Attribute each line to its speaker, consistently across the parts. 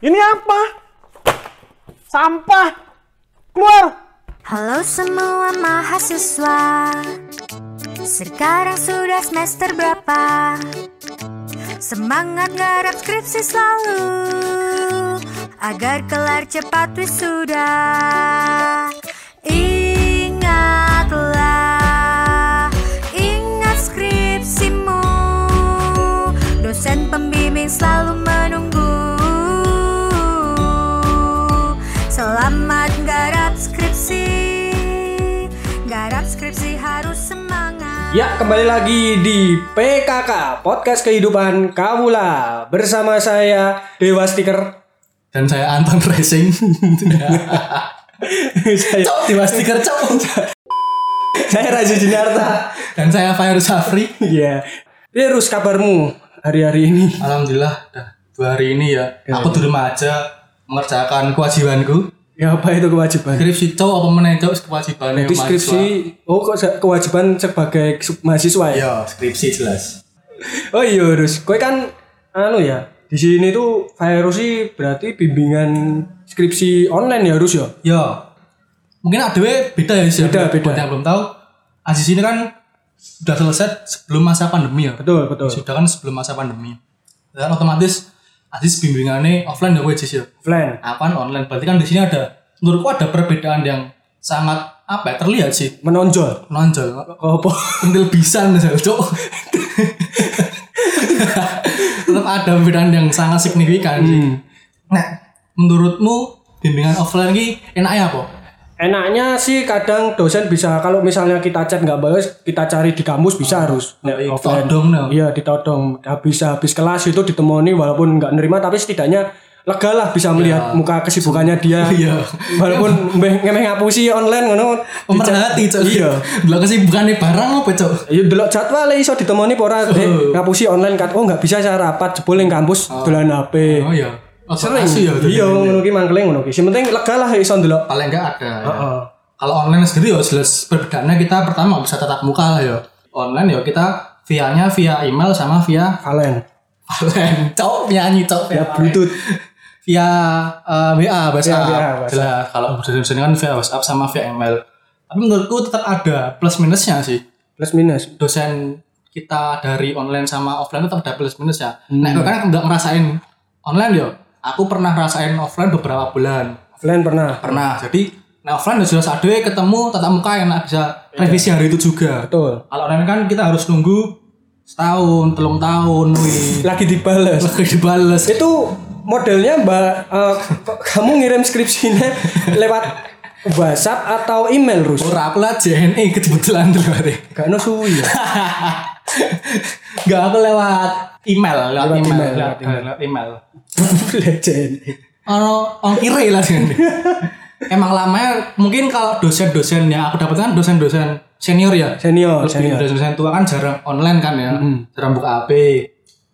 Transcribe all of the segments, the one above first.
Speaker 1: Ini apa? Sampah. Keluar.
Speaker 2: Halo semua mahasiswa Sekarang sudah semester berapa? Semangat ngarap skripsi selalu Agar kelar cepat wisuda Ingatlah Ingat skripsimu Dosen pembimbing selalu menunggu Selamat garap skripsi Garap skripsi harus semangat
Speaker 3: Ya, kembali lagi di PKK Podcast Kehidupan Kawula bersama saya Dewa Stiker.
Speaker 4: dan saya Anton Racing
Speaker 3: saya,
Speaker 4: cok di stiker cok
Speaker 3: saya Raja Jenarta.
Speaker 4: dan saya Fahir Safri
Speaker 3: Iya. Terus kabarmu hari-hari ini?
Speaker 4: alhamdulillah dah dua hari ini ya
Speaker 3: Iya,
Speaker 4: aku di rumah aja mengerjakan kewajibanku
Speaker 3: Ya apa itu kewajiban?
Speaker 4: skripsi cok apa meneh cok kewajiban yang
Speaker 3: Jadi skripsi oh kok se- kewajiban sebagai sub- mahasiswa
Speaker 4: mahasiswa.
Speaker 3: ya?
Speaker 4: iya skripsi jelas
Speaker 3: Oh iya, terus kowe kan anu ya. Di sini tuh virus sih berarti bimbingan skripsi online ya harus ya?
Speaker 4: ya mungkin adewe beda ya sih
Speaker 3: Beda, beda.
Speaker 4: buat yang belum tahu Aziz ini kan sudah selesai sebelum masa pandemi ya
Speaker 3: Betul, betul.
Speaker 4: sudah kan sebelum masa pandemi dan otomatis Aziz bimbingannya offline ya wajib ya
Speaker 3: Offline.
Speaker 4: akan online berarti kan di sini ada menurutku ada perbedaan yang sangat apa ya, terlihat sih
Speaker 3: Menonjol.
Speaker 4: nonjol
Speaker 3: Apa?
Speaker 4: kendel pisan misalnya cok tetap ada perbedaan yang sangat signifikan sih
Speaker 3: Hmm.
Speaker 4: nah menurutmu bimbingan offline ini enak ya apa
Speaker 3: Enaknya sih kadang dosen bisa kalau misalnya kita chat nggak bagus kita cari di kampus bisa harus Nek
Speaker 4: iya,
Speaker 3: offline.
Speaker 4: ditodong, no.
Speaker 3: Iya ditodong. Habis habis kelas itu ditemoni walaupun nggak nerima tapi setidaknya lega lah bisa melihat muka kesibukannya dia.
Speaker 4: Iya.
Speaker 3: Walaupun meh- ngemeh ngapusi online ngono.
Speaker 4: Oh. pemerhati cok
Speaker 3: Iya.
Speaker 4: lo kesibukannya barang apa cok
Speaker 3: Ya delok jadwal iso ditemoni apa ora Dek, ngapusi online kat oh nggak bisa saya rapat jebol ning kampus dolan HP.
Speaker 4: oh iya Oh,
Speaker 3: Sering.
Speaker 4: asli ya,
Speaker 3: Iya ngono ki mangkeling ngono ki. Sing penting lega lah iso ndelok.
Speaker 4: paling enggak ada ya.
Speaker 3: Heeh.
Speaker 4: kalau online sendiri ya jelas perbedaannya kita pertama bisa tatap muka lah ya online ya kita via-nya via email sama via
Speaker 3: Valen.
Speaker 4: valen cok nyanyi cok
Speaker 3: Ya Bluetooth.
Speaker 4: via eh, WA
Speaker 3: WA,
Speaker 4: WhatsApp
Speaker 3: WhatsApp.
Speaker 4: jelas kalau di sini kan via WhatsApp sama via email tapi menurutku tetap ada plus minusnya sih
Speaker 3: Plus minus.
Speaker 4: dosen kita dari online sama offline tetap ada plus minus ya nah
Speaker 3: Hmm.
Speaker 4: gue kan nggak ngerasain online ya aku pernah rasain offline beberapa bulan
Speaker 3: Valen pernah.
Speaker 4: pernah jadi nah offline ya jelas ada ketemu tatap muka enak bisa revisi hari itu juga
Speaker 3: Betul.
Speaker 4: Kalau online kan kita harus nunggu setahun, telung tahun, wih.
Speaker 3: lagi dibales
Speaker 4: Lagi dibales.
Speaker 3: itu modelnya mbak eh, k- kamu ngirim skripsinya lewat WhatsApp atau email Rus
Speaker 4: Ora aku lah JNE E kebetulan tuh hari.
Speaker 3: gak no suwi ya
Speaker 4: Enggak aku lewat email, lewat,
Speaker 3: Lewat
Speaker 4: email,
Speaker 3: email,
Speaker 4: lewat,
Speaker 3: lewat email.
Speaker 4: lewat email.
Speaker 3: legend
Speaker 4: Ono ongkire lah JNE. Emang lamanya mungkin kalau dosen-dosen yang aku dapatkan dosen-dosen senior ya.
Speaker 3: senior
Speaker 4: Lebih
Speaker 3: senior
Speaker 4: dosen-dosen tua kan jarang online kan ya, jarang buka HP.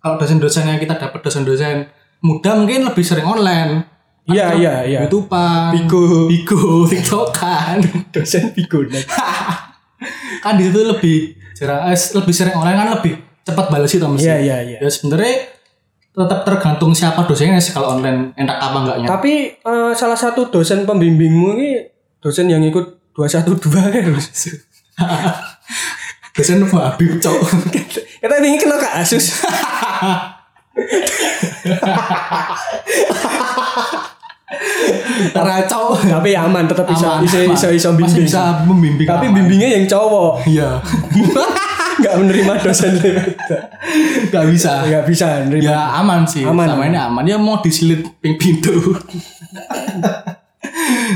Speaker 4: Kalau dosen-dosen yang kita dapat dosen-dosen muda mungkin lebih sering online. Kan
Speaker 3: Iya,
Speaker 4: kita
Speaker 3: iya, iya.
Speaker 4: YouTubean,
Speaker 3: Bigo.
Speaker 4: Bigo, TikTokan.
Speaker 3: dosen bigonan
Speaker 4: kan di situ lebih jarang, eh, lebih sering online kan lebih cepat balas itu mesti.
Speaker 3: iya iya iya
Speaker 4: Ya sebenarnya tetap tergantung siapa dosennya sih kalau online enak apa enggaknya.
Speaker 3: tapi eh, salah satu dosen pembimbingmu ini dosen yang ikut 212 kan Rus
Speaker 4: dosen Habib cok.
Speaker 3: kita Ya, ini kena ke Asus
Speaker 4: Teracau.
Speaker 3: tapi ya aman tetap bisa
Speaker 4: Aman,
Speaker 3: bisa
Speaker 4: aman.
Speaker 3: bisa bisa
Speaker 4: Masih
Speaker 3: bimbing
Speaker 4: bisa membimbing.
Speaker 3: tapi
Speaker 4: aman.
Speaker 3: bimbingnya yang cowok
Speaker 4: Iya.
Speaker 3: nggak menerima dosen lewat
Speaker 4: Gak bisa.
Speaker 3: nggak bisa menerima
Speaker 4: Ya aman sih.
Speaker 3: Aman.
Speaker 4: Sama ini aman. Ya mau disilit ping pintu.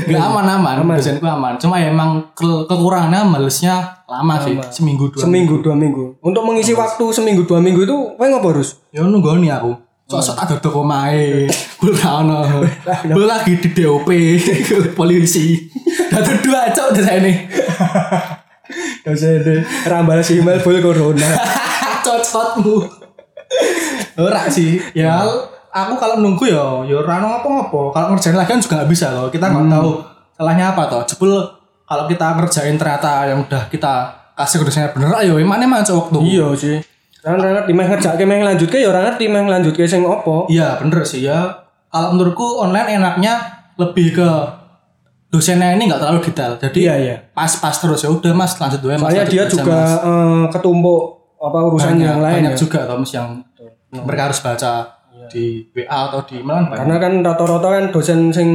Speaker 4: Gak aman
Speaker 3: Iya.
Speaker 4: aman.
Speaker 3: Aman.
Speaker 4: Dosenku aman. Cuma ya emang ke- kekurangannya malesnya lama, sih. Seminggu dua.
Speaker 3: seminggu dua minggu untuk mengisi waktu seminggu dua minggu itu kowe ngopo harus
Speaker 4: Ya nunggu nih aku. Sok-sok tak dodok omae. Bul ra ono. Bul lagi di DOP polisi. Dadu dua cok di sini.
Speaker 3: dosen rambal si email full corona
Speaker 4: Cocotmu. Ora sih. Ya
Speaker 3: Hmm.
Speaker 4: aku kalau nunggu ya ya ora ono apa-apa. Kalau ngerjain lagi kan juga nggak bisa loh. Kita
Speaker 3: Hmm.
Speaker 4: nggak tahu salahnya apa toh. Jebul kalau kita ngerjain ternyata yang udah kita kasih kerjanya bener ayo emangnya mana cok waktu
Speaker 3: iya sih Kan ora ngerti meh ngerjake meh lanjutke ya ora ngerti meh lanjutke sing opo
Speaker 4: Iya bener sih ya kalau menurutku online enaknya lebih ke dosennya ini nggak terlalu detail. Jadi
Speaker 3: Iya, iya.
Speaker 4: pas-pas terus ya udah mas lanjut dua mas.
Speaker 3: Soalnya
Speaker 4: lanjut
Speaker 3: dia
Speaker 4: aja,
Speaker 3: juga
Speaker 4: Mas.
Speaker 3: eh, ketumpuk apa urusan
Speaker 4: banyak,
Speaker 3: yang lain ya.
Speaker 4: banyak
Speaker 3: Iya.
Speaker 4: juga Thomas yang mereka harus baca di WA atau di email kan banyak.
Speaker 3: Karena kan rata-rata kan dosen sing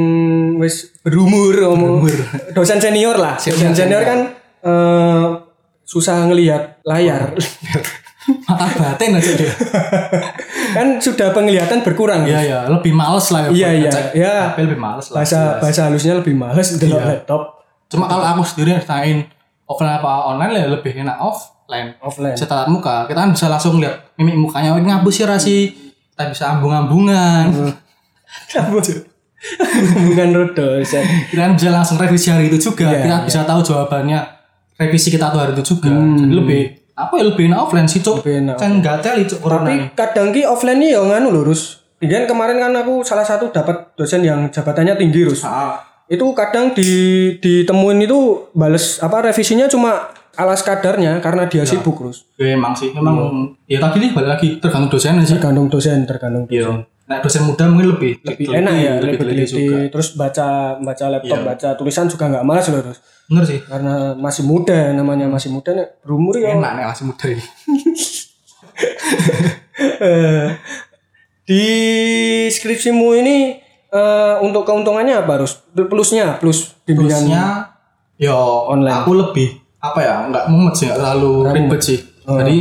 Speaker 3: wis berumur, omong.
Speaker 4: Berumur.
Speaker 3: dosen senior lah.
Speaker 4: Senior,
Speaker 3: dosen senior, kan eh, susah ngelihat layar.
Speaker 4: mata batin aja dia.
Speaker 3: kan sudah penglihatan berkurang.
Speaker 4: Iya ya, lebih males lah ya.
Speaker 3: Iya,
Speaker 4: buat
Speaker 3: iya,
Speaker 4: ngecek.
Speaker 3: iya.
Speaker 4: Tapi lebih males lah.
Speaker 3: bahasa
Speaker 4: jelas. Iya.
Speaker 3: bahasa halusnya lebih males delok laptop
Speaker 4: Cuma kalau aku sendiri yang ditanyain offline apa online ya lebih enak offline.
Speaker 3: offline.
Speaker 4: Setelah muka, kita kan bisa langsung lihat mimik mukanya oh, ini ngabus ya rasi. Kita bisa
Speaker 3: Hmm.
Speaker 4: ambung-ambungan.
Speaker 3: Bukan rodo. Seth.
Speaker 4: kita kan bisa langsung revisi hari itu juga.
Speaker 3: Iya,
Speaker 4: kita bisa tahu jawabannya revisi kita tuh hari itu juga. Jadi lebih apa ya lebih enak offline sih,
Speaker 3: Hmm.
Speaker 4: Cuk.
Speaker 3: Lebih enak
Speaker 4: Kan gatel itu corona.
Speaker 3: Tapi kadang ki offline nih ya nganu lho, Rus. Dengan kemarin kan aku salah satu dapat dosen yang jabatannya tinggi, Rus.
Speaker 4: Ah,
Speaker 3: Itu kadang di ditemuin itu bales apa revisinya cuma alas kadarnya karena dia sibuk, Rus.
Speaker 4: ya emang sih, memang ya tadi nih balik lagi tergantung dosennya sih.
Speaker 3: Tergantung dosen, tergantung dosen.
Speaker 4: Nah, dosen muda mungkin lebih
Speaker 3: Lebih enak ya, lebih teliti.
Speaker 4: juga. Iya.
Speaker 3: Terus baca baca laptop, baca tulisan juga nggak malas loh, Rus.
Speaker 4: Bener sih.
Speaker 3: Karena masih muda, namanya masih muda, nek berumur ya
Speaker 4: Enak nih masih muda ini.
Speaker 3: Eh, di skripsimu ini eh, untuk keuntungannya apa harus plusnya plus bimbingan
Speaker 4: Terusnya yo
Speaker 3: Online.
Speaker 4: aku lebih apa ya? Enggak mumet sih, enggak terlalu ribet sih. Jadi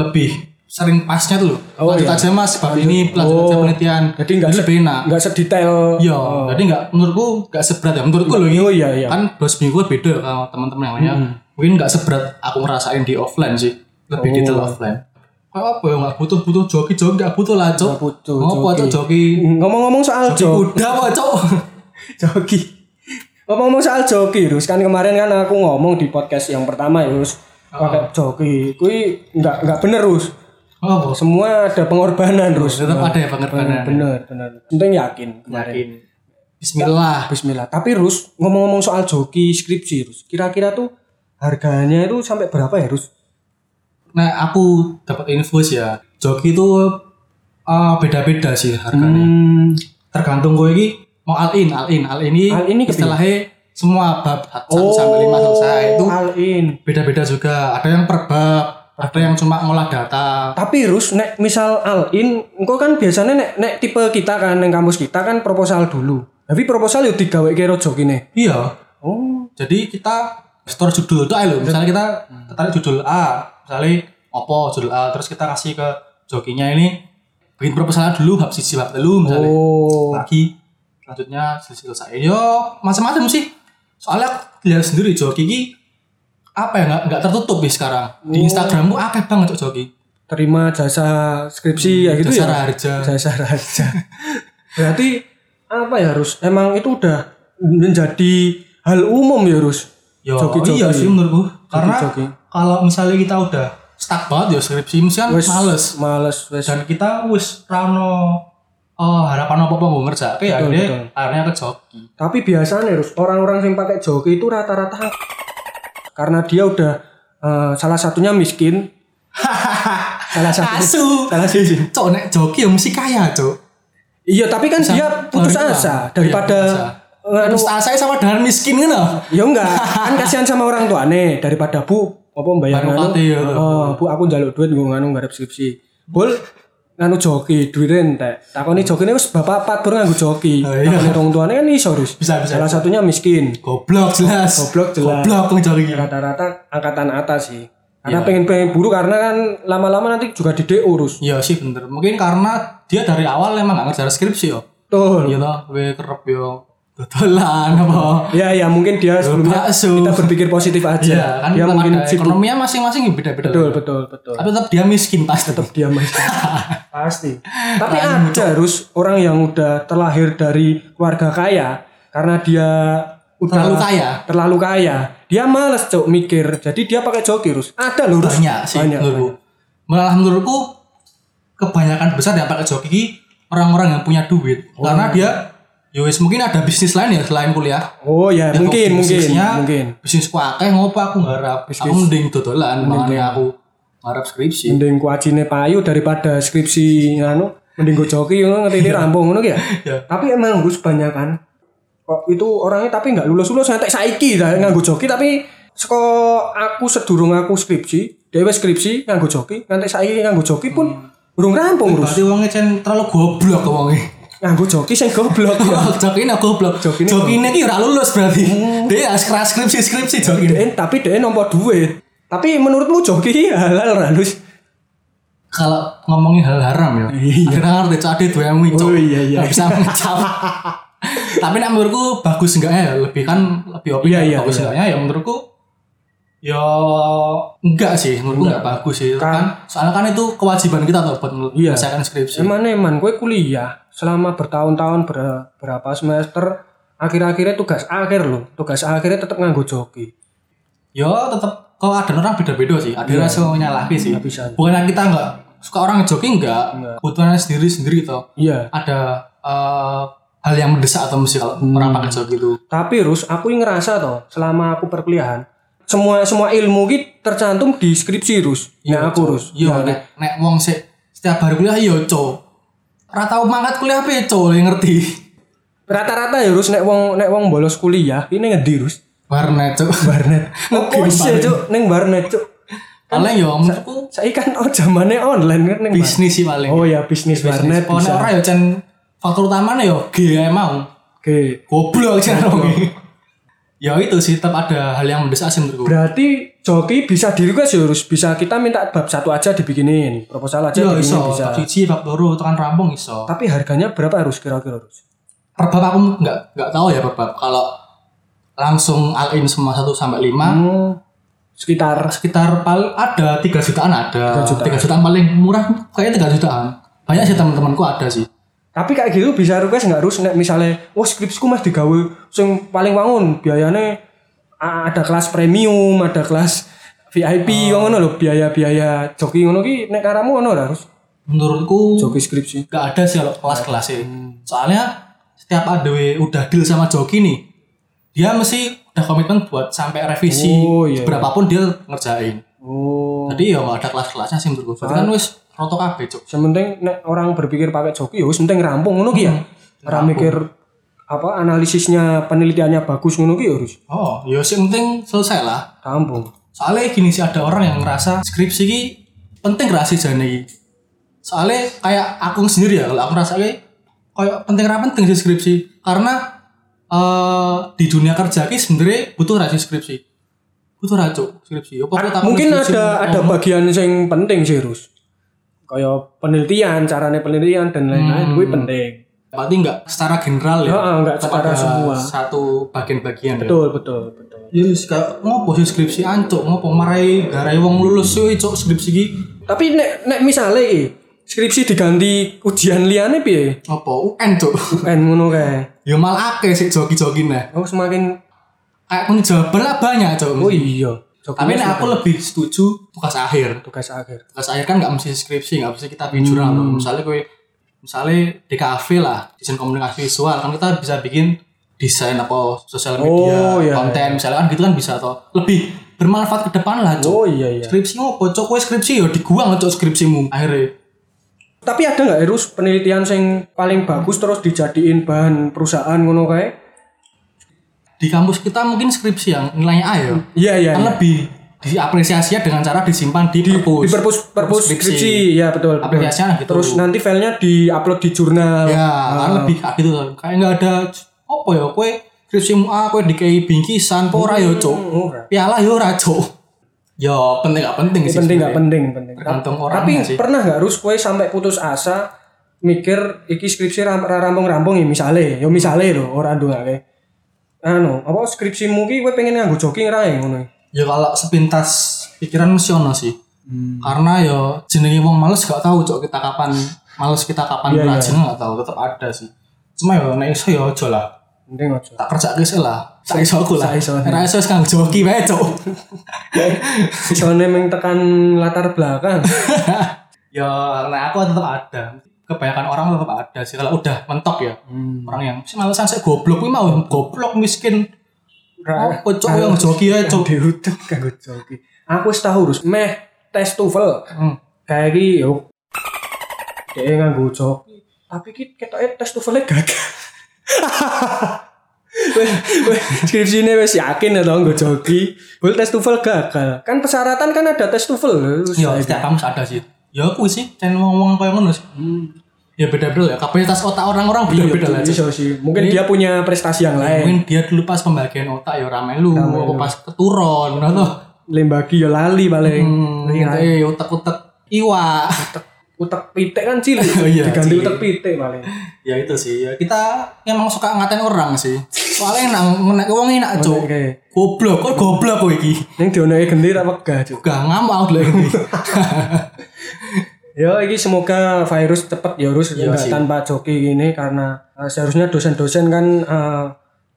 Speaker 4: lebih sering pasnya tuh loh.
Speaker 3: Oh,
Speaker 4: lanjut
Speaker 3: iya.
Speaker 4: aja Mas, bab ini lanjut aja
Speaker 3: Oh.
Speaker 4: penelitian.
Speaker 3: Jadi nggak
Speaker 4: lebih enak. Iya.
Speaker 3: nggak sedetail
Speaker 4: Yo, jadi enggak menurutku enggak seberat ya menurutku loh ini.
Speaker 3: oh iya iya
Speaker 4: Kan dua seminggu beda kalau teman-teman yang lainnya. Mungkin enggak seberat aku ngerasain di offline sih.
Speaker 3: Oh.
Speaker 4: Lebih detail offline. Kayak apa ya enggak butuh-butuh joki-joki enggak butuh lah, Cok.
Speaker 3: Nggak butuh
Speaker 4: Ngopo Cok joki?
Speaker 3: ngomong-ngomong soal
Speaker 4: Joki
Speaker 3: joki
Speaker 4: kuda apa, Cok?
Speaker 3: joki ngomong-ngomong soal joki terus kan kemarin kan aku ngomong di podcast yang pertama ya terus pakai joki kui nggak nggak bener terus
Speaker 4: Oh, bos.
Speaker 3: semua ada pengorbanan terus
Speaker 4: Tetap ada ya pengorbanan.
Speaker 3: bener bener penting yakin kemarin
Speaker 4: Yakin. Bismillah.
Speaker 3: Bismillah. Tapi Rus, ngomong-ngomong soal joki skripsi Rus, kira-kira tuh harganya itu sampai berapa ya Rus?
Speaker 4: Nah, aku dapat info sih ya. Joki itu eh, beda-beda sih harganya.
Speaker 3: Hmm,
Speaker 4: Tergantung gue ini mau all in, all in, all in ini.
Speaker 3: All in ini kepi-
Speaker 4: istilahnya semua bab 1 sampai 5 selesai itu
Speaker 3: all in.
Speaker 4: beda-beda juga. Ada yang per bab, ada yang cuma ngolah data.
Speaker 3: Tapi Rus, nek misal all in, engko kan biasanya nek nek tipe kita kan yang kampus kita kan proposal dulu. Tapi proposal yo digawe karo joki nih.
Speaker 4: Iya.
Speaker 3: Oh,
Speaker 4: Jadi kita store judul itu ayo loh. Misalnya kita tertarik judul A, misalnya opo judul A, terus kita kasih ke jokinya ini bikin proposalnya dulu bab siji bab telu misalnya.
Speaker 3: oh,
Speaker 4: lagi selanjutnya selesai selesai yo macam-macam sih soalnya aku lihat sendiri joki ini apa ya nggak nggak tertutup nih sekarang di
Speaker 3: Oh.
Speaker 4: Instagrammu akeh banget cok joki
Speaker 3: terima jasa skripsi ya gitu
Speaker 4: jasa
Speaker 3: ya.
Speaker 4: raharja.
Speaker 3: Jasa raharja. Berarti apa ya Rus? Emang itu udah menjadi hal umum ya Rus?
Speaker 4: yo
Speaker 3: Joki-joki.
Speaker 4: iya sih menurutku karena
Speaker 3: Joki-joki.
Speaker 4: kalau misalnya kita udah stuck banget ya skripsi misalnya
Speaker 3: Wes,
Speaker 4: males
Speaker 3: males wes.
Speaker 4: dan kita wis rano oh, harapan apa apa gue ngerja kayak
Speaker 3: Betul,
Speaker 4: akhirnya
Speaker 3: betul.
Speaker 4: akhirnya ke joki
Speaker 3: Tapi biasanya Rus, orang-orang yang pakai joki itu rata-rata karena dia udah eh, salah satunya miskin. salah satu.
Speaker 4: asu
Speaker 3: Salah satu.
Speaker 4: cok nek joki ya mesti kaya cok
Speaker 3: Iya, tapi kan dia putus
Speaker 4: Orang
Speaker 3: asa
Speaker 4: tua.
Speaker 3: daripada eh,
Speaker 4: Iya, putus asa.
Speaker 3: nganu-
Speaker 4: putus asa sama dengan miskin kan loh.
Speaker 3: ya enggak, kan kasihan sama orang tuane daripada Bu apa bayar
Speaker 4: Baru
Speaker 3: nganu.
Speaker 4: pati, ya.
Speaker 3: Oh, Bu aku njaluk duit nggo nganu ngarep skripsi. Bol nganu joki duwite entek. Takoni jokine wis bapak pat baru nganggo joki.
Speaker 4: Oh, Hmm. iya.
Speaker 3: Takoni orang tuane kan iso Rus.
Speaker 4: Bisa, bisa,
Speaker 3: Salah satunya miskin.
Speaker 4: Goblok jelas.
Speaker 3: Goblok jelas.
Speaker 4: Goblok kan cari gini.
Speaker 3: rata-rata angkatan atas sih karena
Speaker 4: Iya.
Speaker 3: pengen pengen buru karena kan lama-lama nanti juga oh, di DO urus
Speaker 4: Iya sih bener. Mungkin karena dia dari awal emang gak ngerjain skripsi yo.
Speaker 3: betul
Speaker 4: Iya toh, gue kerep yo. Dodolan apa.
Speaker 3: ya ya mungkin dia sebelumnya
Speaker 4: bakso.
Speaker 3: kita berpikir positif aja
Speaker 4: Iya kan
Speaker 3: dia
Speaker 4: tetap
Speaker 3: mungkin
Speaker 4: ada
Speaker 3: sibuk
Speaker 4: ekonominya masing-masing beda-beda.
Speaker 3: betul betul betul
Speaker 4: Tapi tetap dia miskin pasti. Tetap
Speaker 3: dia masih pasti tapi ada harus orang yang udah terlahir dari keluarga kaya karena dia udah
Speaker 4: terlalu kaya.
Speaker 3: terlalu kaya dia males cok mikir jadi dia pakai joki terus ada lurus
Speaker 4: Banyak sih menurutku. Malah menurutku kebanyakan besar yang pakai joki ini orang-orang yang punya duit.
Speaker 3: Oh.
Speaker 4: Karena dia yo wis mungkin ada bisnis lain ya selain kuliah.
Speaker 3: oh ya
Speaker 4: Ya,
Speaker 3: mungkin
Speaker 4: kok
Speaker 3: mungkin
Speaker 4: bisnisnya,
Speaker 3: mungkin
Speaker 4: bisnis ku akeh ngopo aku ngarap aku mending dodolan makanya aku ngarap skripsi
Speaker 3: mending kuacine payu daripada skripsi anu mending gue joki ngono ngerti rampung ngono ki ya.
Speaker 4: Iya.
Speaker 3: Tapi emang harus banyak kan. Kok itu orangnya tapi nggak lulus-lulus ngantek saiki ta nganggo joki tapi seko aku sedurung aku skripsi, dhewe skripsi nganggo joki, ngantek saiki nganggo joki pun urung rampung terus.
Speaker 4: Berarti wongnya cen terlalu goblok wongnya.
Speaker 3: Nganggo joki sing goblok ya.
Speaker 4: Joki ini goblok. Joki
Speaker 3: Jokine Oh.
Speaker 4: ini ki ora lulus berarti. Dia harus keras skripsi skripsi joki ini.
Speaker 3: Dhewe- tapi dhewe nampa duit. Tapi menurutmu joki halal ra Lus?
Speaker 4: Kalau ngomongin hal haram ya.
Speaker 3: Iya.
Speaker 4: Akhirnya ngerti cok ada dua yang ngicok.
Speaker 3: Oh, iya, iya.
Speaker 4: Gak bisa ngecap. Tapi nek menurutku bagus enggaknya ya lebih kan lebih opini
Speaker 3: Iya, iya,
Speaker 4: bagus
Speaker 3: iya.
Speaker 4: enggaknya ya menurutku ya enggak sih menurutku enggak bagus sih
Speaker 3: Kan-
Speaker 4: kan soalnya kan itu kewajiban kita tuh buat
Speaker 3: Iya.
Speaker 4: menyelesaikan skripsi
Speaker 3: Eman eman, gue kuliah selama bertahun-tahun ber- berapa semester, akhir-akhirnya tugas akhir loh, tugas akhirnya tetap nganggo joki.
Speaker 4: Yo tetap kalau ada Ya orang beda-beda sih. Ada yang suka nyalahi sih.
Speaker 3: Iya. nggak bisa.
Speaker 4: Bukan kan kita nggak suka orang ngejoki nggak. Kebutuhannya sendiri-sendiri toh.
Speaker 3: Iya.
Speaker 4: Ada eh, hal yang mendesak atau mesti kalau orang
Speaker 3: Hmm.
Speaker 4: pakai joki itu.
Speaker 3: Tapi Rus, aku yang ngerasa toh, selama aku perkuliahan, semua semua ilmu gitu tercantum di skripsi Rus. Ya aku Rus.
Speaker 4: Yo Iya, nek nek wong sik setiap hari kuliah yo co. Ora tau mangkat kuliah apa co yang ngerti.
Speaker 3: Rata-rata ya Rus, nek wong nek wong bolos kuliah, ini ngedi Rus.
Speaker 4: Warnet co.
Speaker 3: Barnet. Opo sih cuk, neng Barnet cuk.
Speaker 4: Paling yo menurutku
Speaker 3: Saya kan oh zamannya online kan neng Barnet.
Speaker 4: bisnis sih paling.
Speaker 3: Oh ya bisnis,
Speaker 4: Bisnis.
Speaker 3: Barnet
Speaker 4: Oh, nek
Speaker 3: bisa.
Speaker 4: ora yo cen faktor utamanya yo gaya mau.
Speaker 3: Oke.
Speaker 4: Goblok sih orangnya. Ya itu sih tetap ada hal yang mendesak sih menurutku.
Speaker 3: Berarti joki bisa di request ya harus bisa kita minta bab satu aja dibikinin proposal aja
Speaker 4: Iya
Speaker 3: dibikinin
Speaker 4: iso,
Speaker 3: bisa.
Speaker 4: bab siji, bab loro, tekan rampung iso.
Speaker 3: Tapi harganya berapa harus kira-kira harus?
Speaker 4: Per bab aku nggak nggak tahu ya per bab. Kalau langsung all in semua 1 sampai 5
Speaker 3: Hmm, sekitar
Speaker 4: sekitar pal ada 3 jutaan ada.
Speaker 3: 3
Speaker 4: 3 jutaan,
Speaker 3: jutaan.
Speaker 4: paling murah kayaknya 3 jutaan. Banyak sih teman-temanku ada sih.
Speaker 3: tapi kayak gitu bisa request nggak harus nek misalnya wah skripsiku mas digawe sing paling wangun biayanya a- ada kelas premium ada kelas VIP
Speaker 4: Ah.
Speaker 3: oh. ngono lho biaya-biaya joki ngono ki nek karamu ngono lah harus
Speaker 4: Menurutku
Speaker 3: joki Hmm. skripsi
Speaker 4: nggak ada sih kalau kelas-kelas sih. Soalnya setiap ADW udah deal sama joki nih, dia mesti udah komitmen buat sampai revisi
Speaker 3: Oh, iya, iya.
Speaker 4: berapapun dia ngerjain.
Speaker 3: oh
Speaker 4: Jadi ya nggak ada kelas-kelasnya sih menurutku. Berarti
Speaker 3: Ah.
Speaker 4: kan wis roto kabeh, Cuk.
Speaker 3: sementing nek orang berpikir pakai joki ya wis penting rampung ngono ki ya
Speaker 4: Nah,
Speaker 3: ora mikir apa analisisnya penelitiannya bagus ngono ki ya harus
Speaker 4: Oh, ya sih penting selesai lah.
Speaker 3: rampung
Speaker 4: Soalnya gini sih ada orang yang ngerasa skripsi ini penting gak sih jane iki. Soalnya kayak aku sendiri ya, kalau aku ngerasa kayak kayak penting ra penting sih skripsi karena eh di dunia kerja ki sebenarnya butuh ra sih skripsi. Butuh ra Cuk, skripsi. Apa aku takon
Speaker 3: Ah, mungkin
Speaker 4: skripsi
Speaker 3: ada ada
Speaker 4: ngomong?
Speaker 3: bagian yang penting sih harus kayak penelitian caranya penelitian dan lain-lain gue penting
Speaker 4: berarti nggak secara general ya.
Speaker 3: Heeh, nggak
Speaker 4: tetap
Speaker 3: secara
Speaker 4: ada
Speaker 3: semua.
Speaker 4: Satu bagian-bagian ya.
Speaker 3: betul betul betul
Speaker 4: Iya, wis kayak ngopo sih skripsi ancuk, ngopo marai garai wong lulus sih cuk skripsi iki.
Speaker 3: tapi nek nek misalnya iki, skripsi diganti ujian liane piye
Speaker 4: Ngopo UN cuk.
Speaker 3: kan ngono kae
Speaker 4: ya malah akeh sih jogi-jogi nah.
Speaker 3: aku semakin
Speaker 4: Kayak pun jawaban lah banyak cuk.
Speaker 3: oh iya Joki
Speaker 4: Tapi nek
Speaker 3: masih
Speaker 4: aku lebih setuju tugas akhir.
Speaker 3: tugas akhir
Speaker 4: Tugas akhir kan nggak mesti skripsi, nggak mesti kita bikin jurnal.
Speaker 3: Hmm.
Speaker 4: Misalnya kowe misalnya di kafe lah, desain komunikasi visual kan kita bisa bikin desain apa sosial media,
Speaker 3: Oh, iya,
Speaker 4: konten misalnya kan gitu kan bisa atau lebih bermanfaat ke depan lah cuk.
Speaker 3: oh iya iya
Speaker 4: Skripsi ngopo cuk, kowe skripsi ya diguang cuk skripsimu akhirnya.
Speaker 3: tapi ada nggak Erus penelitian sing paling bagus terus dijadiin bahan perusahaan ngono kae
Speaker 4: di kampus kita mungkin skripsi yang nilainya A ya
Speaker 3: iya iya
Speaker 4: kan
Speaker 3: iya.
Speaker 4: lebih diapresiasinya dengan cara disimpan di,
Speaker 3: di
Speaker 4: perpus
Speaker 3: perpus perpus skripsi ya betul, betul.
Speaker 4: Aplikasinya gitu.
Speaker 3: terus nanti filenya di upload di jurnal
Speaker 4: ya kan lebih kayak gitu kan. kayak nggak ada apa ya kue skripsimu A kue dikei bingkisan apa ora ya
Speaker 3: Hmm.
Speaker 4: cok
Speaker 3: ora.
Speaker 4: piala ya ora cok ya penting gak penting sih
Speaker 3: penting nggak
Speaker 4: sebenarnya.
Speaker 3: penting penting
Speaker 4: Tergantung orangnya
Speaker 3: tapi
Speaker 4: ya. sih.
Speaker 3: pernah nggak harus kue sampai putus asa mikir iki skripsi ram- ra- rampung-rampung ya misale ya misale lho ora doa kae anu apa skripsimu ki kowe pengen nganggo jogging ra ya ngono
Speaker 4: ya kalau sepintas pikiran mesti ono sih
Speaker 3: Hmm.
Speaker 4: karena ya jenenge wong males gak tahu cok kita kapan males kita
Speaker 3: Iya,
Speaker 4: kapan
Speaker 3: iya.
Speaker 4: rajin gak tahu tetap ada sih cuma ya nek iso ya aja lah
Speaker 3: penting aja
Speaker 4: tak kerja ke lah tak iso aku lah
Speaker 3: Sak iso.
Speaker 4: tak iso sekarang joki wae cok
Speaker 3: soalnya meng tekan latar belakang
Speaker 4: ya nah aku tetap ada kebanyakan orang tetap ada sih kalau udah mentok ya orang yang sih malesan saya goblok kuwi mau goblok miskin
Speaker 3: Ra-
Speaker 4: apa cok yang joki ae cok
Speaker 3: diutuk kanggo jogging aku wis tau harus meh tes TOEFL
Speaker 4: Hmm.
Speaker 3: kayak ki yo dia nganggo joki tapi kita kita tes tuvelnya gagal Weh, weh, skripsinya wes yakin ya tau nggak joki Bul tes tuvel gagal kan persyaratan kan ada tes tuvel
Speaker 4: Ya, setiap kampus ada sih. Ya aku sih, channel ngomong kayak ngono sih. Ya beda-beda lah. Kapasitas otak orang-orang
Speaker 3: Iya,
Speaker 4: beda-beda iya, lah. Cik.
Speaker 3: Bisa sih. mungkin dia punya prestasi yang lain
Speaker 4: Mungkin dia dulu pas pembagian otak ya ramai lu, aku pas keturun, ngono toh.
Speaker 3: lembagi ya lali paling
Speaker 4: Hmm,
Speaker 3: Iya.
Speaker 4: eh otak-otak iwa.
Speaker 3: utak pitik kan cilik
Speaker 4: Oh iya,
Speaker 3: diganti
Speaker 4: cilik.
Speaker 3: utak pitik paling
Speaker 4: ya itu sih. Ya kita emang suka ngatain orang sih. Soalnya enak ngenek wong enak, Cuk.
Speaker 3: oke
Speaker 4: Goblok, kok goblok kok iki.
Speaker 3: yang dionoke genti tak wegah Cuk.
Speaker 4: Gak ngamuk aku dulu ini.
Speaker 3: Ya, ini semoga virus cepat ya harus
Speaker 4: Iya sih.
Speaker 3: tanpa joki ini karena eh, seharusnya dosen-dosen kan eh,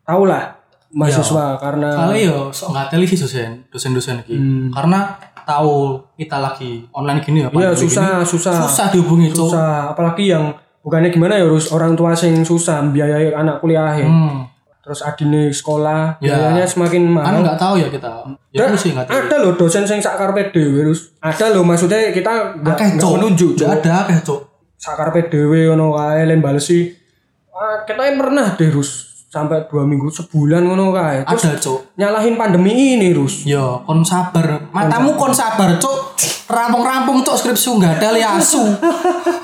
Speaker 3: tahu lah mahasiswa
Speaker 4: Iya.
Speaker 3: karena
Speaker 4: Soalnya yo sok nggak teli sih dosen, dosen-dosen iki. Karena tahu kita lagi online gini ya.
Speaker 3: Hmm. Iya,
Speaker 4: pandemi
Speaker 3: susah,
Speaker 4: gini.
Speaker 3: susah.
Speaker 4: Susah dihubungi, Cuk.
Speaker 3: susah apalagi yang bukannya gimana ya harus orang tua sing susah biayai anak kuliah ya.
Speaker 4: Hmm.
Speaker 3: terus adine sekolah
Speaker 4: Ya.
Speaker 3: biayanya semakin
Speaker 4: kan
Speaker 3: mahal.
Speaker 4: nggak tahu ya kita ya
Speaker 3: Dan
Speaker 4: aku sih nggak tahu
Speaker 3: ada loh dosen sing sak karepe dhewe terus ada loh maksudnya kita nggak
Speaker 4: akeh
Speaker 3: nggak
Speaker 4: cok
Speaker 3: menunjuk
Speaker 4: nggak
Speaker 3: Cuk.
Speaker 4: ada akeh cok
Speaker 3: sak karepe dhewe ngono kae len balesi Ah, kita yang pernah deh Rus sampai dua minggu sebulan ngono kae terus
Speaker 4: ada cok
Speaker 3: nyalahin pandemi ini Rus
Speaker 4: ya kon sabar matamu kon sabar cok rampung-rampung cok skripsi nggak ada liasu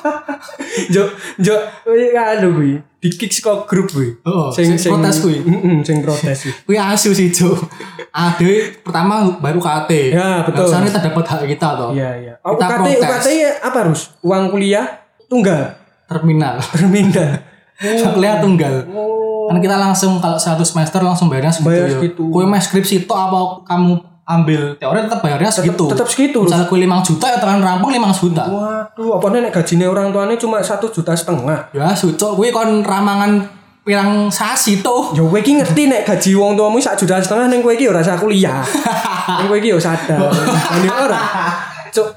Speaker 3: jo jo eh, aduh kuwi dikik saka grup kuwi
Speaker 4: Oh, sing protes kuwi.
Speaker 3: heeh sing protes kuwi
Speaker 4: Wih asu sih cok ade pertama baru KT
Speaker 3: Ya, betul.
Speaker 4: Barusan kita dapat hak kita toh
Speaker 3: iya iya oh,
Speaker 4: Kita
Speaker 3: UKT
Speaker 4: protes.
Speaker 3: UKT -nya apa Rus uang kuliah tunggal
Speaker 4: terminal
Speaker 3: terminal Oh.
Speaker 4: kuliah tunggal kan kita langsung kalau satu semester langsung bayarnya segitu
Speaker 3: Bayar
Speaker 4: ya.
Speaker 3: segitu.
Speaker 4: Kue mes skripsi itu apa kamu ambil teori tetap bayarnya segitu
Speaker 3: tetap segitu, Oh. Rus.
Speaker 4: misalnya kue 5 juta ya tekan rampung 5 juta
Speaker 3: waduh apa nek gajinya orang tuanya cuma satu juta setengah
Speaker 4: Ya sucuk kuwi kon ramangan pirang sasi tuh.
Speaker 3: Ya kowe iki ngerti nek gaji wong tuamu sak juta setengah ning kowe iki ora usah kuliah. Ning kowe iki yo sadar. Ini ora. Cuk,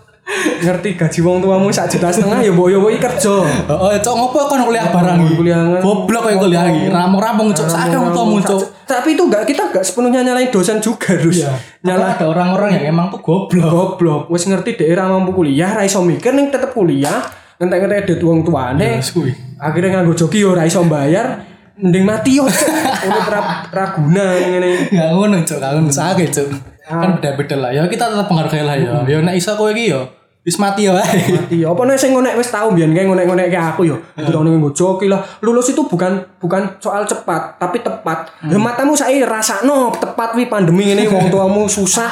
Speaker 3: ngerti gaji wong tuamu sak juta setengah ya mbok yo kowe iki kerja.
Speaker 4: Oh, cok ngopo kon kuliah barang iki?
Speaker 3: Kuliah kan.
Speaker 4: Goblok kowe kuliah iki.
Speaker 3: Oh.
Speaker 4: Rampung-rampung cok sak wong tuamu cok.
Speaker 3: Tapi itu enggak kita enggak sepenuhnya nyalain dosen juga, Rus.
Speaker 4: Nyala
Speaker 3: Nyala
Speaker 4: ada orang-orang yang emang tuh goblok.
Speaker 3: goblok. Wis ngerti dhek ora mampu kuliah, ra iso mikir ning tetep kuliah, ngentek-ngentek dhek wong tuane.
Speaker 4: kuwi.
Speaker 3: Akhirnya nganggo joki yo ora iso bayar, mending mati yo. Urip ra ra guna ngene.
Speaker 4: Enggak ngono cok, kalau sakit cok.
Speaker 3: Ah.
Speaker 4: Kan beda-beda lah. Ya kita tetap menghargai lah ya. Ya nek iso kowe iki ya wis mati ya wae.
Speaker 3: Hmm. mati Iya, apa nih sing ngonek wis tau biyen kayak ngonek-ngonek kayak aku ya. yo
Speaker 4: Iya.
Speaker 3: udah nih gue joki lah lulus itu bukan bukan soal cepat tapi tepat ya
Speaker 4: Hmm.
Speaker 3: matamu saya rasa no tepat wi pandemi ini wong tuamu susah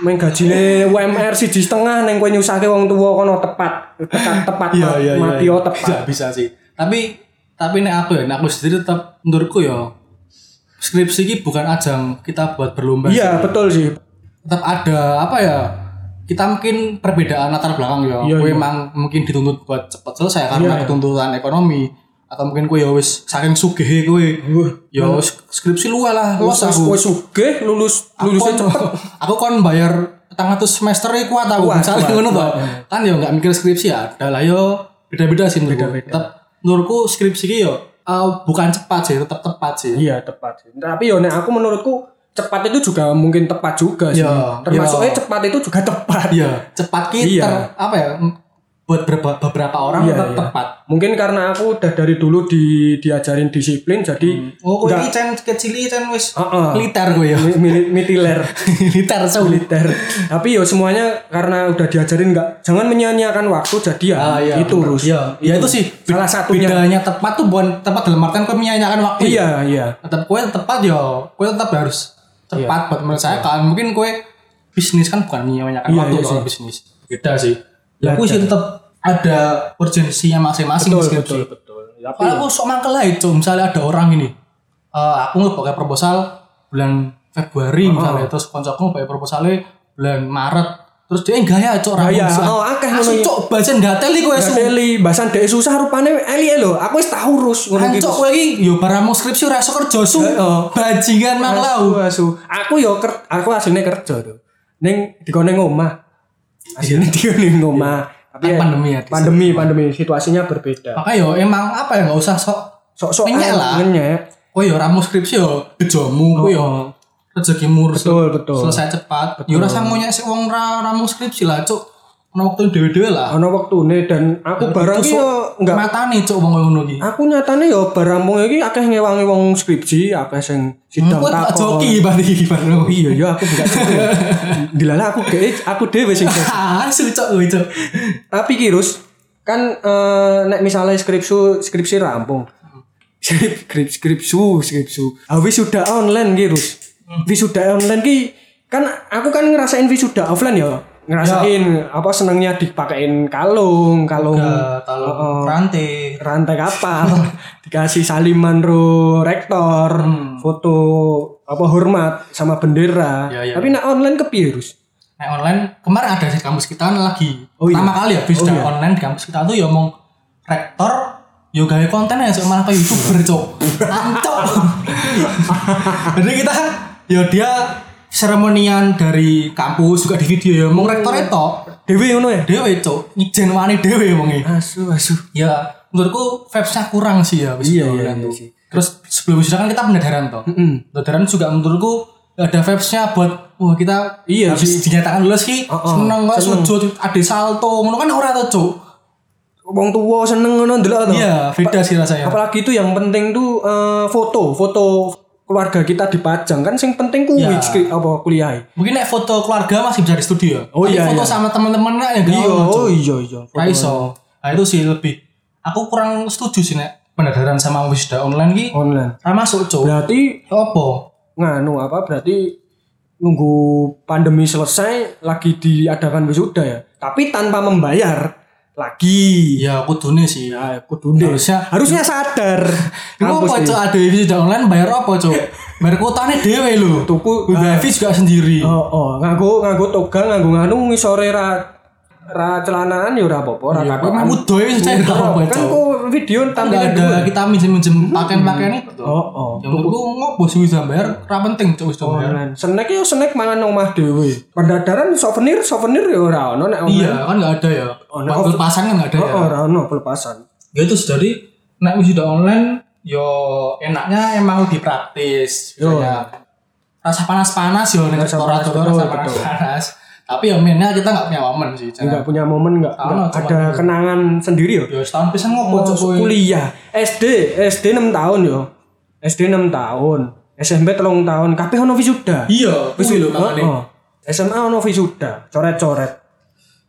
Speaker 3: main gajine UMR siji setengah neng kowe nyusahke wong tua kono tepat tepat tepat
Speaker 4: Iya, Ya,
Speaker 3: ma- mati yo
Speaker 4: Bisa,
Speaker 3: tepat
Speaker 4: bisa sih. Tapi tapi nek aku ya, nek aku sendiri tetap menurutku ya skripsi ini bukan ajang kita buat berlomba.
Speaker 3: iya betul sih
Speaker 4: tetap ada apa ya kita mungkin perbedaan latar belakang ya
Speaker 3: Iya,
Speaker 4: Kue
Speaker 3: iya.
Speaker 4: emang mungkin dituntut buat cepat selesai
Speaker 3: Iya,
Speaker 4: karena
Speaker 3: iya.
Speaker 4: ketuntutan ekonomi atau mungkin kue ya wis saking sugih kue ya wis skripsi lu lah los
Speaker 3: lulus aku
Speaker 4: aku
Speaker 3: sugih lulus
Speaker 4: aku
Speaker 3: lulusnya
Speaker 4: kon,
Speaker 3: cepet
Speaker 4: aku kon bayar petang atus semester ya kuat aku
Speaker 3: Kuat,
Speaker 4: misalnya
Speaker 3: kuat,
Speaker 4: ngono toh. kan ya nggak mikir skripsi ya ada lah yo beda-beda sih menurutku
Speaker 3: Beda-beda.
Speaker 4: tetap menurutku skripsi ki yo eh, bukan cepat sih tetap tepat sih
Speaker 3: Iya tepat sih. Tapi yo nek aku menurutku cepat itu juga mungkin tepat juga sih.
Speaker 4: Iya,
Speaker 3: Termasuknya
Speaker 4: iya.
Speaker 3: cepat itu juga tepat.
Speaker 4: iya cepat ki
Speaker 3: Iya.
Speaker 4: ter- apa ya m- buat berba- beberapa orang
Speaker 3: Iya,
Speaker 4: tetap
Speaker 3: iya.
Speaker 4: tepat
Speaker 3: Mungkin karena aku udah dari dulu di diajarin disiplin jadi
Speaker 4: Oh, kowe
Speaker 3: nggak-
Speaker 4: iki cen kecil iki cen wis
Speaker 3: Heeh.
Speaker 4: militer kowe ya.
Speaker 3: mi- mili- mitiler
Speaker 4: militer sulit.
Speaker 3: militer. Tapi yo semuanya karena udah diajarin nggak jangan menyia-nyiakan waktu jadi ya itu Rus.
Speaker 4: Ah, Iya, ya itu sih
Speaker 3: Salah satunya.
Speaker 4: bedanya tepat tuh bukan tepat dalam artian kowe menyanyiakan waktu.
Speaker 3: Iya, iya.
Speaker 4: Tetap kowe tepat ya, kowe tetap harus tepat buat menurut saya kan. Mungkin kowe bisnis kan bukan menyanyiakan
Speaker 3: Iya,
Speaker 4: waktu
Speaker 3: iya
Speaker 4: kalau
Speaker 3: sih.
Speaker 4: bisnis. Beda sih.
Speaker 3: Beda.
Speaker 4: Ya aku sih tetap ada urgensinya masing-masing
Speaker 3: Betul,
Speaker 4: skripsi.
Speaker 3: betul, betul. Tapi
Speaker 4: Kalau aku sok mangkel lah itu, misalnya ada orang ini, eh, aku ngebuka proposal bulan Februari
Speaker 3: Oh.
Speaker 4: misalnya, terus koncoku ngebuka proposalnya e bulan Maret, terus dia enggak ya cok
Speaker 3: Nggak ya,
Speaker 4: rampung sih.
Speaker 3: oh, akeh ngono
Speaker 4: Asu,
Speaker 3: ya.
Speaker 4: cok baca enggak teli kowe su.
Speaker 3: Eli, bahasan dek susah rupanya Eli lo, aku wis tahu Rus ngono ki,
Speaker 4: Ancok
Speaker 3: Rus.
Speaker 4: kowe iki yo baramu skripsi ora iso kerja su.
Speaker 3: Heeh.
Speaker 4: Bajingan mang
Speaker 3: Asu,
Speaker 4: lau.
Speaker 3: asu. Aku yo ker, aku aslinya kerja tuh. Ning dikone ngomah. Aslinya dikone ngomah. Tapi ya,
Speaker 4: Kan Iya. pandemi ya, di
Speaker 3: Pandemi, pandemi situasinya berbeda.
Speaker 4: Makanya yo emang apa ya enggak usah sok
Speaker 3: Sok-sok
Speaker 4: Menyek lah.
Speaker 3: Menyek.
Speaker 4: kowe yo ramu skripsi yo gejomu kowe yo
Speaker 3: Oh,
Speaker 4: rezekimu
Speaker 3: Betul, betul.
Speaker 4: selesai cepat. Yo rasa ngoyak sik wong ra ramu skripsi lah cuk. ono waktu dhewe-dhewe lah.
Speaker 3: Ono wektune dan aku barang
Speaker 4: Itu
Speaker 3: ki
Speaker 4: sok
Speaker 3: yo enggak
Speaker 4: matane cuk wong ngono iki.
Speaker 3: aku nyatane yo barang mung iki akeh ngewangi wong skripsi, akeh sing sidang
Speaker 4: Aku Hmm, tak joki berarti iki baru.
Speaker 3: Iya iya aku bukan joki. Dilala aku dhewe aku dhewe sing joki.
Speaker 4: Asli cuk kuwi cuk.
Speaker 3: Tapi Kirus kan eh, nek misalnya skripsu skripsi rampung. Skrip, skrip, skripsu, skripsu. Ah, wisuda online Kirus.
Speaker 4: Hmm.
Speaker 3: Wisuda online ki kan aku kan ngerasain wisuda offline ya.
Speaker 4: Ya.
Speaker 3: Ngerasain apa senengnya dipakein kalung, kalung
Speaker 4: Kalau
Speaker 3: Oh, oh.
Speaker 4: rantai
Speaker 3: rantai kapal dikasih saliman ro rektor
Speaker 4: Hmm.
Speaker 3: foto apa hormat sama bendera
Speaker 4: Ya, ya.
Speaker 3: tapi nak online ke virus
Speaker 4: Nah online kemarin ada di kampus kita lagi.
Speaker 3: Oh, iya.
Speaker 4: Pertama kali ya bis
Speaker 3: Oh,
Speaker 4: dah
Speaker 3: iya.
Speaker 4: online di kampus kita tuh ya omong rektor yo gawe konten ya sok malah kayak youtuber cok. Ancok. Jadi kita yo dia seremonian dari kampus juga di video ya omong rektor itu
Speaker 3: dewi ngono ya
Speaker 4: dewe cok ngijen wani dewe omongi.
Speaker 3: asu asu
Speaker 4: Ya menurutku vibesnya kurang sih ya wis
Speaker 3: Iya, iya,
Speaker 4: online tuh.
Speaker 3: iya sih.
Speaker 4: Terus sebelum wisuda kan kita pendadaran toh.
Speaker 3: Mm-mm.
Speaker 4: Pendadaran juga menurutku ada vibesnya buat wah kita
Speaker 3: Iya
Speaker 4: habis dinyatakan lulus ki
Speaker 3: Oh, oh,
Speaker 4: seneng kok
Speaker 3: seneng.
Speaker 4: sujud ade salto ngono kan ora tau cuk.
Speaker 3: wong tua seneng ngono ndelok to
Speaker 4: Iya, beda sih rasanya.
Speaker 3: apalagi itu yang penting tuh eh, foto foto keluarga kita dipajang kan sing penting kuwi
Speaker 4: Ya.
Speaker 3: skri- apa kuliah
Speaker 4: Mungkin nek foto keluarga masih bisa di studio.
Speaker 3: Oh,
Speaker 4: Tapi
Speaker 3: iya,
Speaker 4: foto
Speaker 3: iya.
Speaker 4: sama teman-teman ya gak
Speaker 3: iya
Speaker 4: ono, Cuk.
Speaker 3: oh iya iya
Speaker 4: Ra iso. Nah itu sih lebih aku kurang setuju sih nek pendadaran sama wisuda online ki
Speaker 3: online
Speaker 4: ra masuk cuk. Ya
Speaker 3: berarti
Speaker 4: Opo?
Speaker 3: nganu apa berarti nunggu pandemi selesai lagi diadakan wisuda ya tapi tanpa membayar lagi
Speaker 4: Ya kudune sih.
Speaker 3: ya kudu deh.
Speaker 4: Harusnya-
Speaker 3: harusnya sadar
Speaker 4: Iku apa
Speaker 3: kampus
Speaker 4: cok
Speaker 3: deh.
Speaker 4: ada visi online bayar apa cok? Bayar kuotanya dewe lho.
Speaker 3: Tuku,
Speaker 4: Bayar fee juga sendiri.
Speaker 3: Nah. oh oh nganggo nganggo toga nganggo nganu ngisore ra ra celanaan ya ora apa-apa ra
Speaker 4: Tapi
Speaker 3: katokan.
Speaker 4: emang udah ya sudah gak apa
Speaker 3: kan
Speaker 4: cok.
Speaker 3: kok video
Speaker 4: Gak
Speaker 3: tampilan
Speaker 4: ada
Speaker 3: dua
Speaker 4: kita minjem-minjem pakaian-pakaian itu.
Speaker 3: oh oh
Speaker 4: Yang menurutku ngopo sih bisa bayar, ra penting cok wis bayar.
Speaker 3: online snack ya snack mangan nang omah dhewe pendadaran souvenir souvenir ya ora ono nek online
Speaker 4: Iya kan gak ada ya.
Speaker 3: Online.
Speaker 4: Buat Pelepasan kan gak ada
Speaker 3: nah, Oh,
Speaker 4: ya.
Speaker 3: oh, ora ono pelepasan
Speaker 4: Ya itu jadi nek wis sudah online yo enaknya emang lebih praktis.
Speaker 3: Yo.
Speaker 4: Misalnya rasa panas-panas yo nek
Speaker 3: Rasa
Speaker 4: restoran
Speaker 3: panas,
Speaker 4: tuh
Speaker 3: betul,
Speaker 4: rasa
Speaker 3: betul.
Speaker 4: panas-panas. Tapi ya mainnya kita gak punya momen sih.
Speaker 3: Enggak Enggak punya momen enggak,
Speaker 4: Tahu
Speaker 3: enggak.
Speaker 4: lah, cuma
Speaker 3: ada
Speaker 4: itu.
Speaker 3: kenangan sendiri ya.
Speaker 4: Ya setahun pisan ngopo
Speaker 3: Oh,
Speaker 4: cok kowe?
Speaker 3: kuliah SD, SD 6 tahun ya. yo. SD 6 tahun, SMP 3 tahun, kabeh ono wisuda.
Speaker 4: Iya, wis lho
Speaker 3: Heeh.
Speaker 4: makane.
Speaker 3: SMA ono wisuda, coret-coret.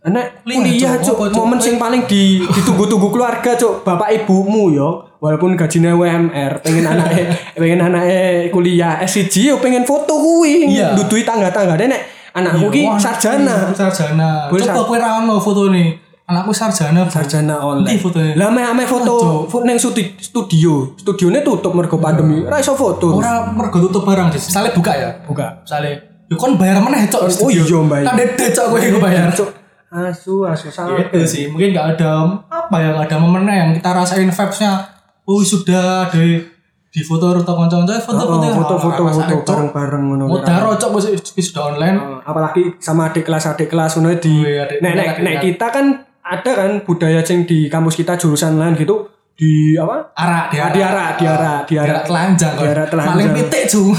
Speaker 3: Nek
Speaker 4: Kuliah,
Speaker 3: kuliah
Speaker 4: Cuk.
Speaker 3: cuk,
Speaker 4: Apa, Cuk?
Speaker 3: momen sing paling di, ditunggu-tunggu keluarga cuk, bapak ibumu yo, walaupun gajinya WMR, pengen anaknya pengen anaknya kuliah SCG yo pengen foto kuwi,
Speaker 4: Iya.
Speaker 3: ndudui tangga-tanggane nek anakku ki sarjana.
Speaker 4: Sarjana.
Speaker 3: Gue
Speaker 4: Coba
Speaker 3: sar-
Speaker 4: kowe ra ono fotone. Anakku sarjana. Bu.
Speaker 3: sarjana online.
Speaker 4: Ndi fotonya?
Speaker 3: Lah ame ame foto foto neng studi, studio. Studione tutup mergo pandemi. Ora iso foto.
Speaker 4: Iya. Ora mergo tutup barang sih. Misale buka ya.
Speaker 3: Buka.
Speaker 4: Misale yo kon bayar meneh cok.
Speaker 3: Oh iya, bayar.
Speaker 4: Kan dede cok kowe iku bayar.
Speaker 3: Cuk. Asu asu sangat.
Speaker 4: Gitu sih, mungkin gak ada apa ya, gak ada momennya yang kita rasain vibes-nya. Oh sudah ada di foto atau konco-konco ya. foto
Speaker 3: Oh, foto-foto foto
Speaker 4: bareng.
Speaker 3: bareng-bareng ngono.
Speaker 4: Mau daro cok wis wis sudah online.
Speaker 3: Oh, Apalagi sama adik kelas adik kelas ngono ya, di.
Speaker 4: Oh, iya, adik-
Speaker 3: Nek nek
Speaker 4: adik-
Speaker 3: nek kita kan ada kan budaya sing di kampus kita jurusan lain gitu di apa?
Speaker 4: Arak, diarak.
Speaker 3: Diarak, diarak, diarak.
Speaker 4: Diarak telanjang. kan.
Speaker 3: Diarak telanjang.
Speaker 4: Paling pitik cuma.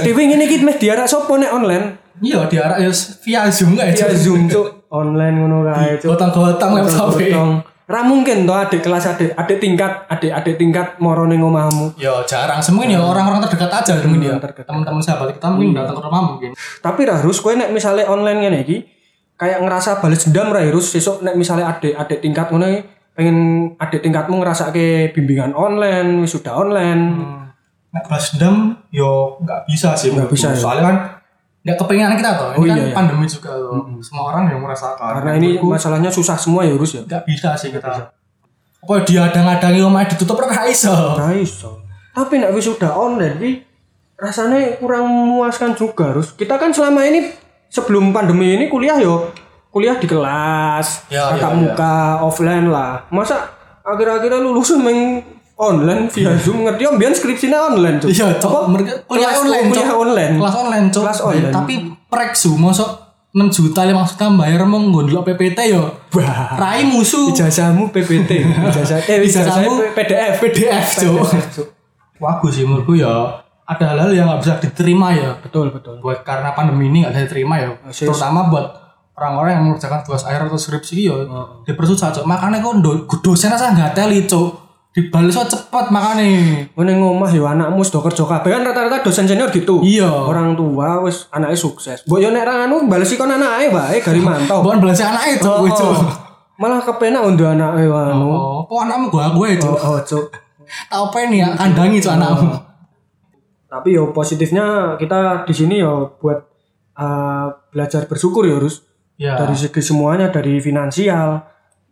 Speaker 3: Dewi ngene iki meh diarak sopo nek online?
Speaker 4: Iya diarak ya via Zoom gak
Speaker 3: Via Zoom cuk, online ngono kae cuk.
Speaker 4: Gotong-gotong laptop
Speaker 3: Potong. Ra mungkin toh adik kelas adik adik tingkat adik adik tingkat moro ning omahmu.
Speaker 4: Ya jarang sih mungkin ya orang-orang terdekat aja mungkin ya.
Speaker 3: terdekat. Iya.
Speaker 4: Teman-teman sahabat kita mungkin datang ke rumah mungkin.
Speaker 3: Tapi ra harus kowe nek misalnya online ngene iki kayak ngerasa balas dendam ra harus sesuk nek misalnya adik adik tingkat ngono iki, pengen adik tingkatmu ngerasa ke bimbingan online wis sudah
Speaker 4: Hmm.
Speaker 3: online
Speaker 4: Nek balas dendam yo nggak bisa sih
Speaker 3: Nggak
Speaker 4: menurutku.
Speaker 3: bisa, ya.
Speaker 4: Soalnya kan nggak kepengenan kita toh. Ini
Speaker 3: Oh,
Speaker 4: kan
Speaker 3: iya, iya.
Speaker 4: pandemi juga toh. Semua orang yang merasakan.
Speaker 3: karena ini
Speaker 4: Menurutku
Speaker 3: masalahnya susah semua ya harus ya.
Speaker 4: nggak bisa sih kita. Apa dia adang-adangi omah ditutup ora iso.
Speaker 3: Ra iso. Tapi nek wis sudah online iki rasanya kurang memuaskan juga harus. Kita kan selama ini sebelum pandemi ini kuliah yo kuliah di kelas,
Speaker 4: Ya,
Speaker 3: tatap
Speaker 4: ya, ya.
Speaker 3: muka, offline lah. Masa akhir-akhirnya lulus main online via Zoom ngerti om biyen skripsinya online tuh. Apa?
Speaker 4: Iya, cok. Mereka kuliah
Speaker 3: Kelas-
Speaker 4: online, cok.
Speaker 3: kuliah online.
Speaker 4: Kelas online, cok.
Speaker 3: Kelas online.
Speaker 4: Tapi prek su, mosok 6 juta ya maksudnya bayar mau ngondelok PPT yo.
Speaker 3: Wah.
Speaker 4: Rai musuh.
Speaker 3: Ijazahmu PPT, ijazah eh ijazahmu
Speaker 4: Ijazahmu
Speaker 3: PDF,
Speaker 4: PDF, cok.
Speaker 3: Cuk.
Speaker 4: Wagu sih menurutku ya. Ada hal-hal yang nggak bisa diterima ya.
Speaker 3: Betul, betul.
Speaker 4: Buat karena pandemi ini nggak bisa diterima ya.
Speaker 3: Sis.
Speaker 4: Terutama buat orang-orang yang mengerjakan tugas akhir atau skripsi yo dipersusah cok makanya kok ndo dosen aja nggak teli cok dibalas kok cepet makanya
Speaker 3: Ngene ngomah yo anakmu sudah kerja kabeh kan rata-rata dosen senior gitu.
Speaker 4: Iya.
Speaker 3: Orang tua wis anaknya sukses. Mbok yo nek ra anu balesi kon anake bae gari mantau.
Speaker 4: bukan balas anaknya e, cok gue cok
Speaker 3: Malah kepenak unduh anake wae anu.
Speaker 4: oh kok anakmu gua gue cok
Speaker 3: Oh, cuk.
Speaker 4: tau apa ini ya kandangi cok anakmu
Speaker 3: Tapi yo positifnya kita di sini yo buat eh, belajar bersyukur ya harus
Speaker 4: ya
Speaker 3: dari segi semuanya dari finansial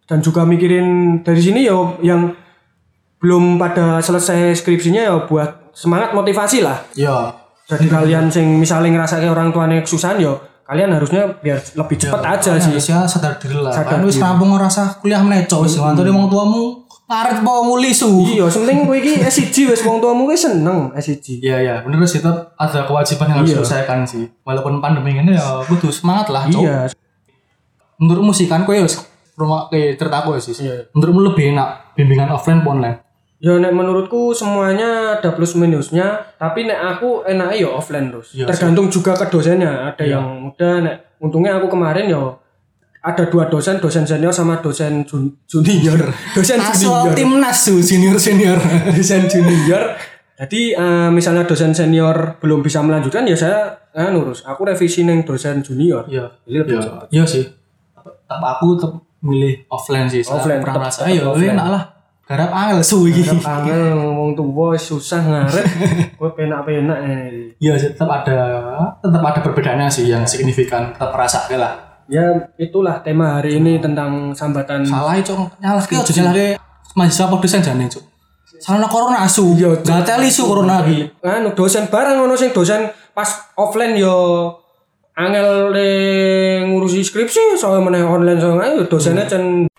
Speaker 3: dan juga mikirin dari sini ya yang belum pada selesai skripsinya ya buat semangat motivasi lah
Speaker 4: ya
Speaker 3: jadi kalian sing misalnya ngerasa orang tuanya kesusahan yo kalian harusnya biar lebih cepat
Speaker 4: Iya.
Speaker 3: aja sih
Speaker 4: Indonesia sadar diri Hmm. lah
Speaker 3: Sadar
Speaker 4: kan wis
Speaker 3: diri.
Speaker 4: rampung ngerasa kuliah meneh cok wis ngantori wong tuamu laret po muli su
Speaker 3: iya penting kowe iki SIG wis wong tuamu kuwi seneng SIG
Speaker 4: Iya iya bener sih tetap ada kewajiban yang harus
Speaker 3: Iya.
Speaker 4: diselesaikan sih walaupun pandemi ini ya butuh semangat lah cok
Speaker 3: iya
Speaker 4: menurutmu sih kan kowe wis rumah kayak cerita aku sih
Speaker 3: Iya.
Speaker 4: menurutmu lebih enak bimbingan offline apa online
Speaker 3: Ya nek menurutku semuanya ada plus minusnya, tapi nek aku enaknya ya offline terus.
Speaker 4: Iya sih. Iya.
Speaker 3: Tergantung juga ke dosennya, ada yang muda nek untungnya aku kemarin ya ada dua dosen, dosen senior sama dosen jun- junior. Dosen junior.
Speaker 4: Asual timnas su senior senior
Speaker 3: Dosen junior. Jadi eh, misalnya dosen senior belum bisa melanjutkan ya saya eh, nurus. Aku revisi neng dosen junior.
Speaker 4: iya
Speaker 3: Jadi lebih
Speaker 4: iya
Speaker 3: cepat.
Speaker 4: iya sih tetap aku tetap milih offline sih setelah
Speaker 3: Offline,
Speaker 4: aku pernah
Speaker 3: tetap-
Speaker 4: merasa
Speaker 3: tetap
Speaker 4: ayo
Speaker 3: offline.
Speaker 4: enak lah garap angel su iki
Speaker 3: Angel ngomong tuwa susah ngaret. Gue penak-penak ini.
Speaker 4: iya sih tetap ada tetap ada perbedaannya sih yang signifikan tetap merasa oke lah
Speaker 3: Ya itulah tema hari ini tentang sambatan
Speaker 4: salah cok nyalah ki ojo nyalah ki Iya, mahasiswa apa dosen jane cok salah corona su
Speaker 3: Iya, Cok.
Speaker 4: gak teli su corona iki
Speaker 3: anu dosen barang ono sing dosen pas offline yo angel le ngurusi skripsi soalnya meneh online soalnya yo dosennya cen